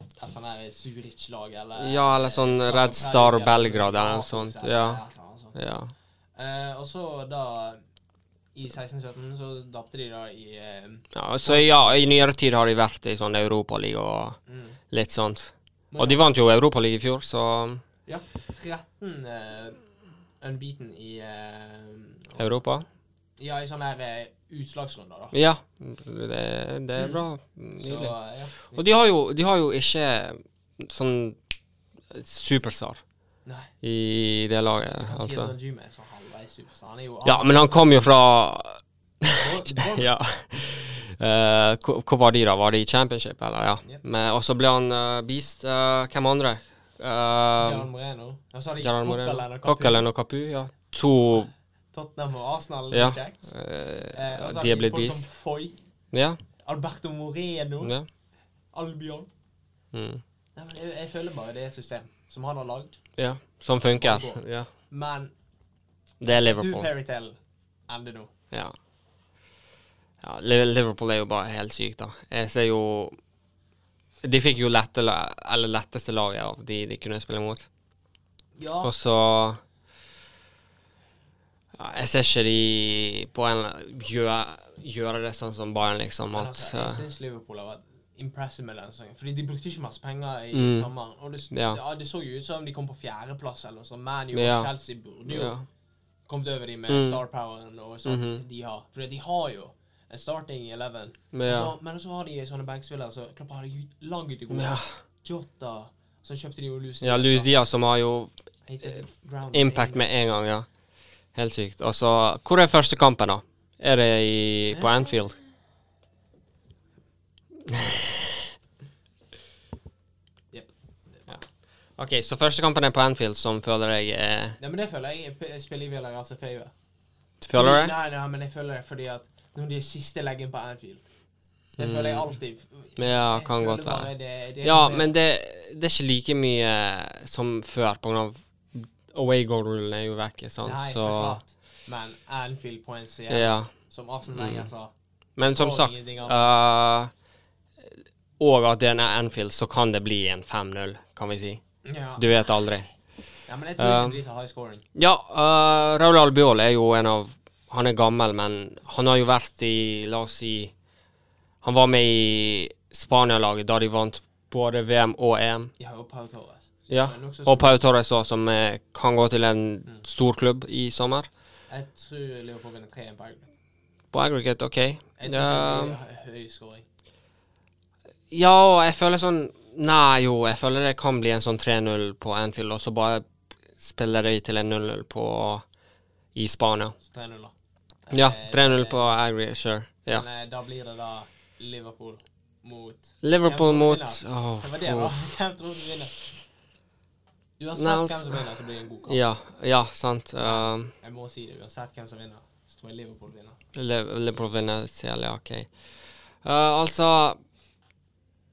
Et sånt der sånn Zurich-lag eller
Ja, eller sånn
eh, Zagreb,
Red Star
eller sånn,
Belgrad eller noe
Naples,
sånt,
eller
ja.
et eller annet sånt.
Ja.
Eh, og så da I 16-17 så tapte de da i eh,
Ja, så ja, i nyere tid har de vært i sånn Europaliga og
mm,
litt sånt. Og de vant jo Europaliga i fjor, så
Ja. 13 eh, unbeaten i eh,
Europa.
Ja, i sånne her eh, utslagsrunder, da.
Ja, det, det er bra.
Så
Nydelig.
eh, ja.
Og de har jo, de har jo ikke sånn superstar
Nei.
i det laget,
Hva sier
altså.
Don Jume? Så halvveis superstar. Han er jo
Ja, men han kom jo fra
Bournemouth.
Ja. Eh, hvor hvor var de, da? Var de i championship, eller? Ja.
Yep.
Men, og så ble han eh, beast. eh, hvem andre?
Gerard
Uh,
Moreno. Og så har de
Gerard Moreno.
Coquelin og Capu.
Coquelin og Kapu, ja. To eh,
Tottenham og Arsenal.
Ja.
Kjekt. Eh,
Eh,
og så har
de er blitt
folk
vist.
som Foy,
Ja.
Alberto Moreno,
ja.
Albion.
Mm.
Nei, men jeg, jeg føler bare det er et system som han har lagd.
ja. Som funker.
Liverpool.
Ja.
Men
Det er
to
Liverpool.
fairytale ender nå.
Ja. ja. Li- Liverpool er jo bare helt sykt, da. Jeg ser jo De fikk jo lette, la- eller letteste laget av de de kunne spille mot.
Ja,
Og så ja, Jeg ser ikke de på en gjøre, gjøre det sånn som Bayern, liksom.
men
At
altså, jeg
eh,
syns Liverpool har vært impressive med denne sesongen. Fordi de brukte ikke masse penger i
Mm.
sommeren. Og det, s-
Ja.
ja, det så jo ut som de kom på fjerdeplass eller noe sånt. Man og
Ja.
Chelsea burde jo
ja.
kommet over de med
Mm.
star poweren og sånn
Mhm.
de har. Fordi de har jo en starting eleven. Og
Men ja.
Så, men så har de sånne bankspillere som så Klopp har jo laget det gode.
Ja.
Jota. Så kjøpte de jo Lucy.
ja, Luis Diaz, som har jo impact med en gang, ja. Helt sykt. Og så Hvor er første kampen, da? Er det i, på Anfield?
Jep.
Ja. OK, så første kampen er på Anfield, som føler jeg eh,
Nei, men det føler jeg p- spiller i Villarreal E sin favor.
Føler
Fordi-
jeg?
Nei, nei, men jeg føler det fordi at når de er siste leggen på Anfield Det føler jeg alltid.
Mm. Men ja,
Jeg
kan
føler
godt
bare
være.
Det, det
Ja, men det, det er ikke like mye som før, på grunn av away goal-rullen er jo vekk, sant?
Nei, så
så
klart. Men Anfield på en serie,
Ja. Mm.
som Arsenal Wenger sa
Men som
Og
sagt
ingenting
eh, Og at det er Anfield, så kan det bli en 5-0, kan vi si.
ja.
Du vet aldri.
ja, men jeg tror ikke
Um,
de som har high scoring.
Ja, uh, Raul Albiol er jo en av Han er gammel, men han har jo vært i La oss si Han var med i Spania-laget da de vant både VM og EM.
De har jo Pau Torres.
Ja.
Men også
Og
som-
Pau Torres òg, som eh, kan gå til en stor klubb i sommer.
Jeg tror Liverpool vinner 3-1 på Anfield.
På aggregate, OK. Eh,
Jeg tror
Ja,
ikke det blir høy scoring.
ja, og jeg føler sånn Nei, jo, jeg føler det kan bli en sånn 3-0 på Anfield, og så bare spiller de til en 0-0 på i Spania.
Så 3-0, da.
Ja,
Eh,
3-0 på aggregate, sure. Ja.
Men eh, da blir det da Liverpool mot
Liverpool
Hvem
mot
tror
Åh,
Det var det, da.
fuff.
Hvem tror du vinner? Uansett
Nei,
hvem
altså-
som vinner, så blir det en god kamp.
Ja, ja, sant. Um,
Jeg må si det. Uansett hvem som vinner, så tror jeg Liverpool vinner.
Le- Liverpool vinner CL, ja, OK. Uh, altså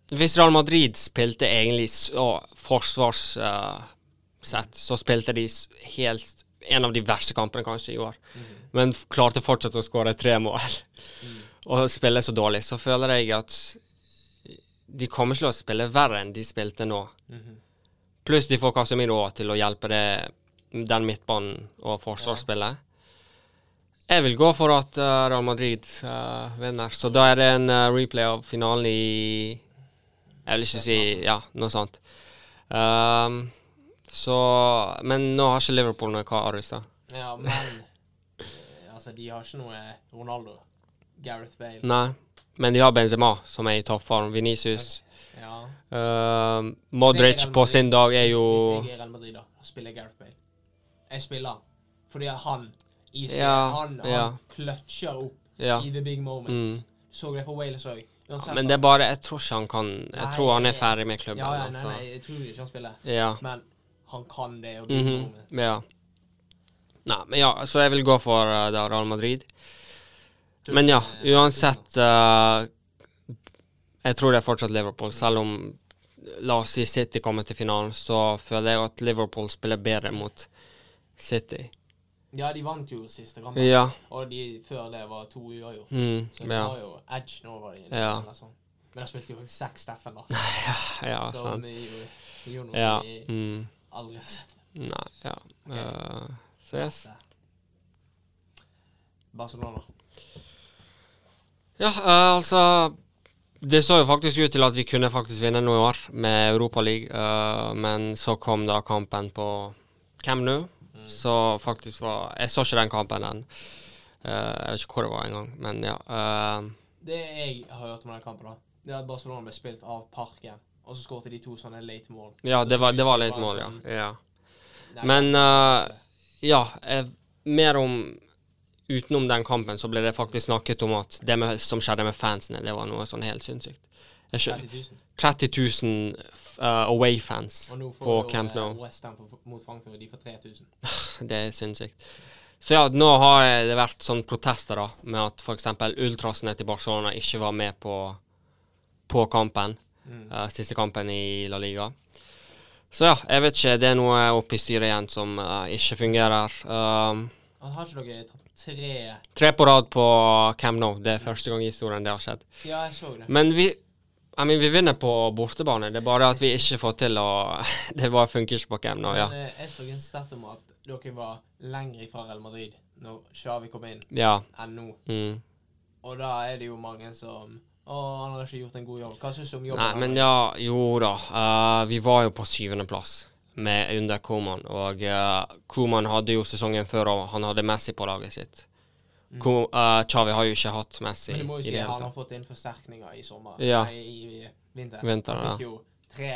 Hvis Real Madrid spilte egentlig så forsvarssett, uh, sett, så spilte de s- helt en av de verste kampene kanskje i år, men f- klarte fortsatt å skåre tre mål
Mhm.
og spille så dårlig, så føler jeg at de kommer ikke til å spille verre enn de spilte nå.
Mhm.
Pluss de får Casemiro også til å hjelpe det, den midtbanen og forsvarsspillet. Jeg vil gå for at eh, Real Madrid eh, vinner. Så da er det en eh, replay av finalen i Jeg vil ikke si Ja, noe sånt. Ehm, så Men nå har ikke Liverpool noe Karius, da.
Ja, men eh, Altså, de har ikke noe Ronaldo. Gareth Bale.
Nei. Men de har Benzema, som er i toppform. Venicius.
Ja.
Ehm, Modric på sin dag er jo
Hvis jeg er i Real Madrid, da, og spiller Gareth Bale. Jeg spiller han. fordi han i seg,
Ja,
han, han
ja.
clutcher opp
Ja. Mm.
i the big moments. Så det på Wales òg.
Men det er bare Jeg tror ikke han kan Jeg tror han er ferdig med klubben.
Ja, ja, nei,
altså.
nei, jeg tror ikke han spiller.
Ja.
Men han kan det. Og big
Mhm,
moments.
Ja. Nei, men ja, så jeg vil gå for eh, da Real Madrid.
Tror eh,
Men
du
ja,
det er-
uansett eh, Jeg tror det er fortsatt Liverpool. Selv om la oss si City kommer til finalen, så føler jeg at Liverpool spiller bedre mot City.
Ja, de vant jo siste kamp,
Ja.
og de før det var to uavgjort.
Mm,
Så de
ja.
har jo edge nå over de.
Ja.
eller sånn. Men da spilte jo faktisk seks Steffen, da.
ja,
som
sant.
vi jo vi gjorde noe
Ja.
vi
Mm,
aldri har sett.
nei, ja.
Ok.
Eh, så yes.
Barcelona.
Ja, eh, altså Det så jo faktisk ut til at vi kunne faktisk vinne noe i år med Europaligaen, uh, men så kom da kampen på Camp Nou, så faktisk var Jeg så ikke den kampen den. Eh, jeg vet ikke hvor det var engang, men ja. eh,
Det jeg har hørt om denne kampen, da, det er at Barcelona ble spilt av Parken. Og så skåret de to sånne late mål.
ja, det var, det var litt mål, ja. ja. Men eh, ja, eh, mer om Utenom den kampen så ble det faktisk snakket om at det med, som skjedde med fansene, det var noe sånn helt sinnssykt. Jeg skjø-
30 000.
30 000 f- eh, away-fans.
Og nå får
på
jo,
Camp
eh,
Nou.
West Ham på- mot Frankfurt, de får 3000.
Det er sinnssykt. Så ja, nå har det vært sånn protester da, med at f.eks. ultrasene til Barcelona ikke var med på, på kampen.
Mm.
eh, siste kampen i La Liga. Så ja, jeg vet ikke. Det er noe oppe i styret igjen som eh, ikke fungerer. Um,
Han har ikke dere tapt tre
tre på rad på Camp Nou. Det er første gang i historien det har skjedd.
Ja, jeg så det.
Men vi I mean, vi vinner på bortebane. Det er bare at vi ikke får til å Det bare funker ikke på Camp Nou. Ja.
Men eh, jeg så en stat om at dere var lenger fra Real Madrid når Xavi kom inn,
ja.
enn nå.
Mm.
Og da er det jo mange som Å, han har ikke gjort en god jobb. Hva syns du om jobben?
Nei, men ja, jo da. Eh, vi var jo på syvendeplass under Koman, og uh, Koman hadde jo sesongen før, og han hadde Messi på laget sitt.
Mm.
Ko- eh, Xavi har jo ikke hatt Messi
Men du må jo
i
si at
det
han
hele
har
tatt.
fått inn forsterkninger i sommer.
Ja.
Nei, i vinter.
Vinter,
Han
ja.
fikk jo tre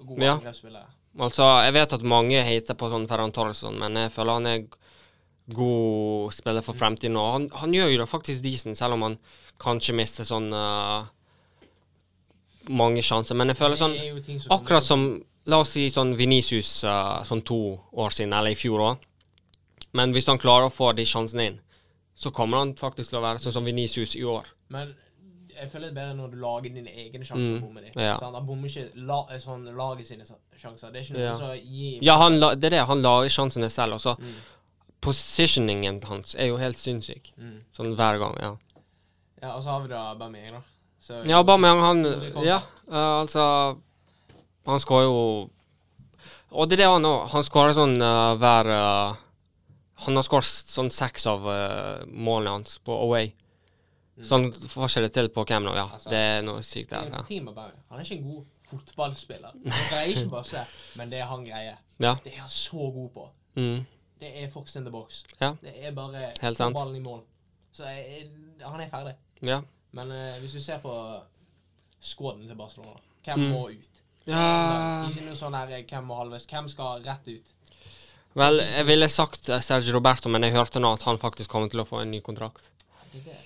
gode
Ja.
angrepsspillere.
Altså, jeg vet at mange hater på sånn Ferran Torresson, men jeg føler han er g- god spiller for fremtiden, og han, han gjør jo det faktisk decent, selv om han kanskje mister sånn eh, mange sjanser. Men jeg føler sånn
Det er jo ting som
Akkurat som La oss si sånn Venicius eh, sånn to år siden, eller i fjor òg. Men hvis han klarer å få de sjansene inn, så kommer han faktisk til å være sånn som Venicius i år.
Men jeg føler det er bedre når du lager dine egne sjanser
Mm,
og bommer de.
ja.
Sant? Han bommer ikke la, sånn, laget sine sjanser. Det er ikke noe
Ja.
som gir
Ja, han la, det er det. Han lager sjansene selv. Og så
Mm.
positioningen hans er jo helt sinnssyk.
Mm.
Sånn hver gang. Ja,
Ja, og så har vi da Bamiang, da. Så-
ja Aubameyang,
Det
han
kommer.
Ja, eh, altså Han skårer jo Og det er det han òg. Han skårer sånn eh, hver eh, Han har skåret sånn seks av eh, målene hans på away.
Mm.
Sånn forskjellig til på hvem nå, ja.
Altså,
det er noe sykt
Det er
der.
en
Ja.
team av Bamiang. Han er ikke en god fotballspiller. Han greier ikke masse, men det han greier,
Ja.
det er han så god på.
Mm.
Det er Fox in the box.
Ja.
Det er bare
Helt sant.
ballen i mål. Så jeg, jeg- han er ferdig.
ja.
Men eh, hvis du ser på skåden til Barcelona, hvem
Mm. Ah.
må ut?
ja.
Ikke noe sånn her eh, hvem må halves, hvem skal rett ut?
Vel, jeg ville sagt eh, Sergio Roberto, men jeg hørte nå at han faktisk kommer til å få en ny kontrakt.
Det er det.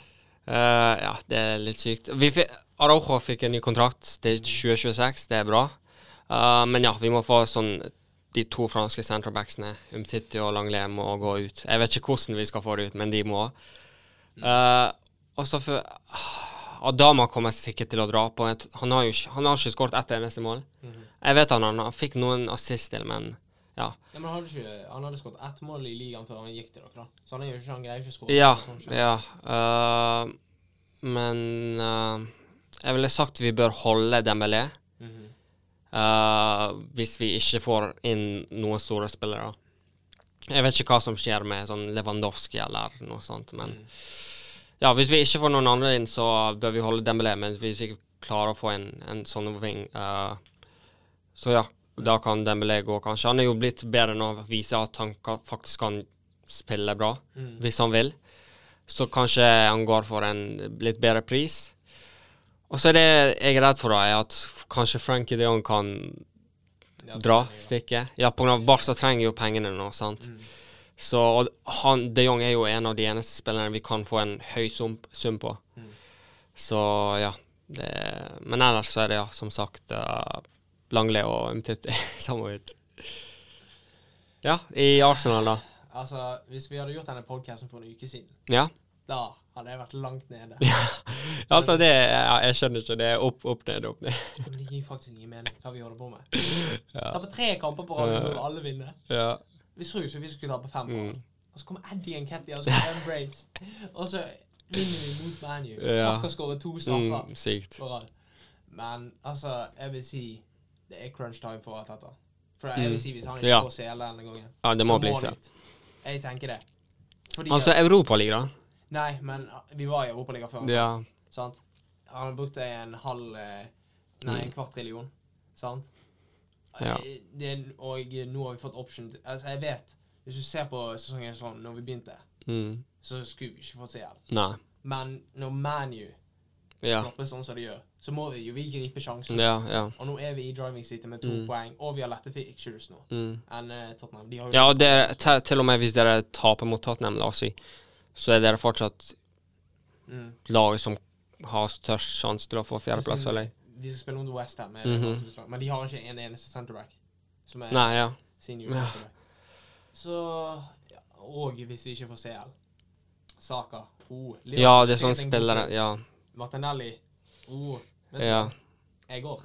Eh, ja, det er litt sykt. Vi fi- Araujo fikk en ny kontrakt til 2026, det er bra. Eh, men ja, vi må få sånn de to franske centerbacksene, Umtiti og Langlais, må gå ut. Jeg vet ikke hvordan vi skal få det ut, men de må. Eh, og så for Adama kommer sikkert til å dra på. Et, han har jo ikke, han har ikke skåret ett eneste mål.
Mhm.
Jeg vet han, han fikk noen assist til, men ja.
Ja, men han hadde, ikke, han hadde skåret ett mål i ligaen før han gikk til dere, da. Så han, er jo ikke, han greier jo ikke å skåre.
Ja.
Sånn skjer.
ja eh, men eh, jeg ville sagt vi bør holde Dembélé
Mhm.
eh, hvis vi ikke får inn noen store spillere. Jeg vet ikke hva som skjer med sånn Lewandowski eller noe sånt, men ja, hvis vi ikke får noen andre inn, så bør vi holde Dembélé, men hvis vi ikke klarer å få en, en sånn wing, eh, så ja, da kan Dembélé gå, kanskje. Han er jo blitt bedre nå, viser at han kan, faktisk kan spille bra,
Mm.
hvis han vil. Så kanskje han går for en litt bedre pris. Og så er det jeg er redd for, da, er at f- kanskje Frankie de Jong kan
Ja,
dra,
det er det,
stikke. Ja, pga. Barca trenger jo pengene nå, sant.
Mm.
Så og han, De Jong er jo en av de eneste spillerne vi kan få en høy sum, sum på.
Mm.
Så ja. Det, men ellers så er det ja, som sagt uh, Langle og Mtitti samme ut. Ja, i Arsenal, da.
ja. Altså, hvis vi hadde gjort denne podcasten for en uke siden,
Ja.
da hadde jeg vært langt nede.
Altså, det ja, Jeg skjønner ikke. Det er opp, opp, ned, opp, ned.
Men det gir faktisk ingen mening hva vi holder på med. Tape tre kamper på rad,
Ja.
og alle vinne.
Ja.
Vi så jo ikke vi skulle tape fem.
Mm.
Og så kommer Eddie og Ketty og så kommer Embrace. Og så vinner vi mot ManU.
Ja.
Sjakka skårer to straffer
Mm, sykt.
på rad. Men altså, jeg vil si det er crunch time for alt dette. For jeg
Mm.
vil si hvis han ikke
Ja.
får sele denne gangen,
Ja, det må bli
han
så.
ut. Jeg tenker det. Fordi
Altså,
at-
Europaliga,
Nei, men ah, vi var i Europaligaen før.
da. Ja.
sant? Han brukte en halv eh, Nei, en kvart trillion, sant?
Mm. Ja.
Eh, Det, er- og nå har vi fått option til- Altså, jeg vet Hvis du ser på sesongen sånn når vi begynte,
Mm.
så skulle vi ikke fått se hjelp.
Nei.
Men når ManU
Ja.
flopper sånn som de gjør, så må vi jo vi gripe sjansen.
Ja. ja.
Og nå er vi i driving seatet med to
Mm.
poeng, og vi har lette fixtures nå
Mm.
enn eh, Tottenham. De har jo
Ja, og dere, te, til og med hvis dere taper mot Tottenham, la oss si, så er dere fortsatt
mm.
laget som har størst sjanse til å få fjerdeplass,
Liksom-
eller?
De som spiller mot Westham, er
Mhm.
det vanskeligste lag, men de har ikke en eneste centerback. Som er
Nei, ja.
senior.
Ja.
tenker jeg. Så ja, Og hvis vi ikke får CL. Saka. Oh, Liverpool
Ja, det er
sikkert
sånn
en god
spillere
klubb.
Ja.
Martinelli. Oh, vet du
ja,
hva? Jeg går.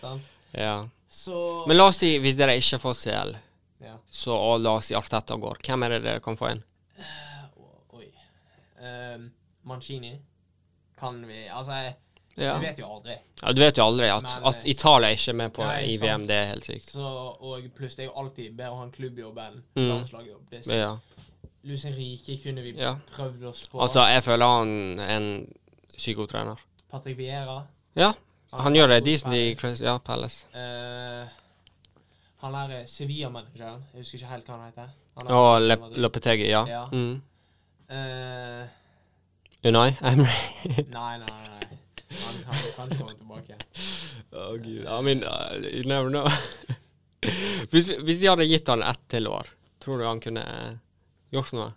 Sant?
ja.
Så
Men la oss si, hvis dere ikke får CL,
ja.
så og la oss si Arteta går, hvem er det dere kan få inn?
Å, Oi. Ehm, Mancini kan vi Altså, jeg,
Ja.
vi vet jo aldri.
ja, Du vet jo aldri at,
Men,
at
eh,
Italia er ikke med på
nei,
i
sant.
VM, det er helt sykt.
Så, og pluss, det er jo alltid bedre å ha en klubbjobb enn
Mm.
landslagjobb. Det er
Ja.
Lucien Rike kunne vi
Ja.
prøvd oss på.
Altså, jeg føler han er en sykt god trener.
Patrick Vieira.
Ja, han gjør det decent
Palace.
i Crest- ja, Palace.
Eh, han der eh, Sevilla-manageren Jeg husker ikke helt hva han heter. Han er-
Og Lep- Lopetegi, ja.
Ja.
Mm.
Eh,
Unai Emre.
nei, nei, nei. nei. Han kan, kan komme tilbake.
Oh, Gud. I mean, uh, you never know. hvis, hvis de hadde gitt han ett til år, tror du han kunne eh, gjort noe?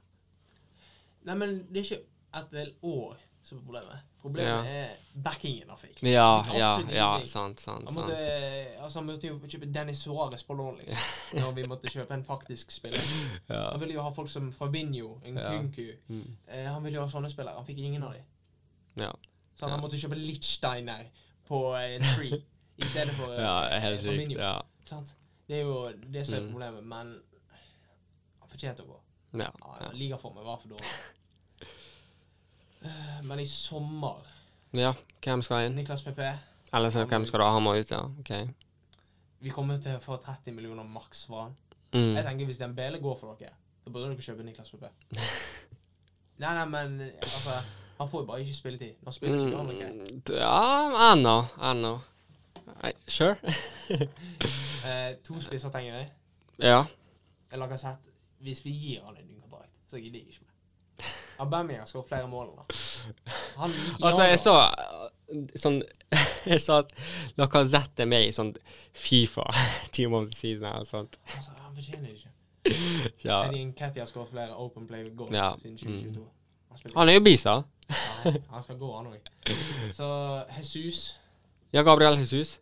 Nei, men det er ikke et del år som er problemet. Problemet er backingen han fikk.
Ja,
Han fikk
ja,
absolutt
ja,
ingenting.
sant, sant,
Han måtte,
sant.
eh, altså, han måtte jo kjøpe Dennis Suárez på lån, liksom. Når vi måtte kjøpe en faktisk spiller.
Ja.
Han ville jo ha folk som Fabinho, Nkunku
Mm.
eh, Han ville jo ha sånne spillere. Han fikk ingen av dem.
Ja.
Så han
Ja.
måtte kjøpe Lichtsteiner på eh, Tree i stedet for eh,
ja, helt sykt.
Fabinho.
Ja.
Sant? Det er jo det som er
Mm.
problemet, men han fortjente å gå.
Ja.
Ja,
Ja.
Ligaformen var for dårlig. Eh, Men i sommer
ja, hvem skal inn?
Niklas PP,
Eller så, hvem skal da ha meg ut, ja? Ok.
vi kommer til å få 30 millioner maks fra han.
Mm.
Jeg tenker Hvis Dembele går for dere, da burde dere kjøpe Niklas PP. Nei, nei, men altså Han får jo bare ikke spilletid. Når han spiller, så gjør han ikke det.
Mm. Ja, ennå, ennå. Nei, Sure.
Eh, to spisser trenger vi.
Ja.
Eller Lacazette. Hvis vi gir han en ny kontrakt, så gidder jeg ikke mer. Aubameyang skårer flere mål enn han. Han liker
Altså, jeg
Jager.
så eh, sånn Jeg sa at Lacazette er med i sånn Fifa ti måneder siden eller sånt.
Altså, han fortjener det ikke.
Ja.
Eddie Nketi har skåret flere Open Play goals
Ja, Mm. Ah.
siden 2022. Han, spiller,
Han er jo bisa.
ja, han skal gå, han òg. Så Jesus
Ja, Gabriel Jesus.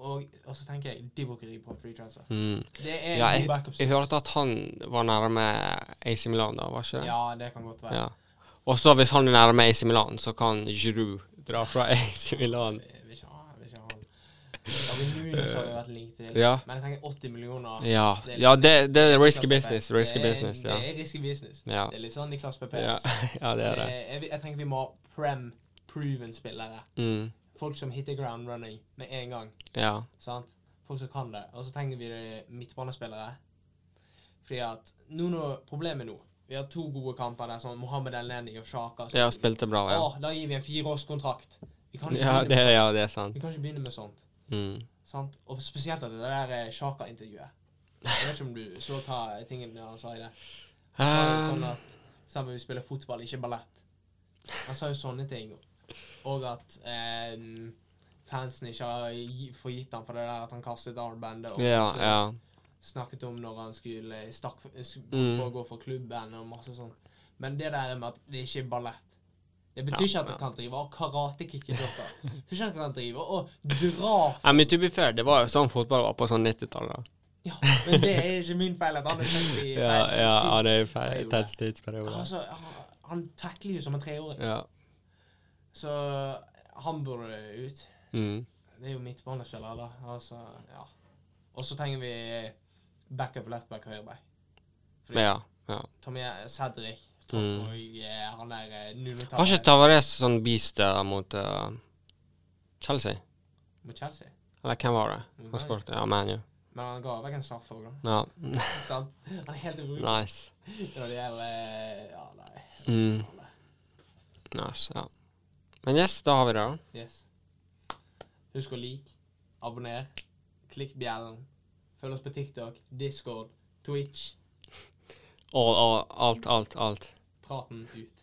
og, og så tenker jeg Divokeri på free transfer.
Mm.
Det er
Ja,
en
jeg,
god backup.
jeg hørte at han var nærme AC Milan, da, var ikke det?
Ja, det kan godt være.
Ja. Og så hvis han er nærme AC Milan, så kan Giroud dra fra AC Milan.
Jeg vil ikke ha jeg vil ikke ha han. Darwin Nunes har jo vært linket til,
Ja.
men jeg tenker 80 millioner
Ja, ja det, det er risky business. Risky
det er,
business, ja.
Det er risky business.
Ja,
Det er litt sånn Niklas Pepe.
ja. ja det er det.
Eh, Jeg, jeg tenker vi må ha prem proven spillere.
Mm.
Folk som hitter ground running med en gang.
Ja.
sant? Folk som kan det. Og så trenger vi det midtbanespillere. Fordi at nå når problemet nå Vi har to gode kamper der, som Mohammed Elneny og Shaka.
Ja, spilte bra, ja.
Åh, da gir vi en fireårskontrakt. Vi kan ikke,
Ja,
begynne,
det,
med,
ja, det er
sånt.
sant.
vi kan ikke begynne med sånt.
Mm.
Sant? Og spesielt at det der eh, Shaka-intervjuet. Jeg vet ikke om du så hva tingen han sa i det. Han sa
Ah.
jo sånn at Sammen vi spiller fotball, ikke ballett. Han sa jo sånne ting. Og at eh, fansen ikke har gi- forgitt ham for det der at han kastet armbandet. Og
Ja,
så
ja.
snakket om når han skulle eh, stakk sk-
Mm.
for å gå for klubben og masse sånn. Men det der med at det ikke er ballett Det betyr ikke
Ja,
at han
ja.
kan drive og karatekikke dotter. Det betyr ikke at han kan drive og dra
Ja, men to be fair, det var jo sånn fotball var på sånn 90-tallet.
Ja, men det er ikke min feil at han er født i
Ja,
feil
ja, ja, det er
tidsperiode.
feil. Tett tidsperiode.
Altså, han, han takler jo som en treåring.
Ja.
Så han burde ut.
Mm.
Det er jo midtbanespiller, da. Altså, ja. Og så trenger vi backup left back høyre back.
Men ja. ja.
Tommy Cedric Tom,
Mm.
og eh, han der eh, Nuno
Var
Tavares
ikke Tavares sånn beast der mot eh, Chelsea?
mot Chelsea.
Eller hvem var det?
Mot
Han
Bayern.
skåret. Ja, ManU.
Men han ga vekk en straffe òg, da.
Ja.
Sant? Han er helt rulig.
Nice.
Når det gjelder eh, Ja, nei.
Mm. Nice, ja. Men yes, da har vi det, da.
Yes. Husk å like, abonner, klikk bjellen. Følg oss på TikTok, Discord, Twitch.
All, all, alt, alt, alt.
Praten ut.